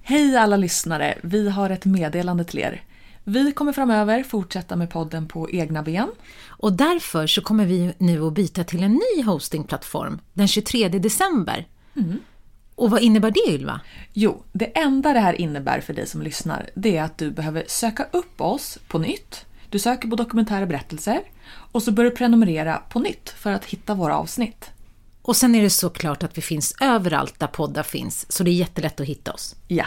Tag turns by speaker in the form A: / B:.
A: Hej alla lyssnare! Vi har ett meddelande till er. Vi kommer framöver fortsätta med podden på egna ben.
B: Och därför så kommer vi nu att byta till en ny hostingplattform den 23 december. Och vad innebär det Ylva?
A: Jo, det enda det här innebär för dig som lyssnar det är att du behöver söka upp oss på nytt. Du söker på dokumentära berättelser och så börjar du prenumerera på nytt för att hitta våra avsnitt.
B: Och sen är det såklart att vi finns överallt där poddar finns, så det är jättelätt att hitta oss.
A: Ja.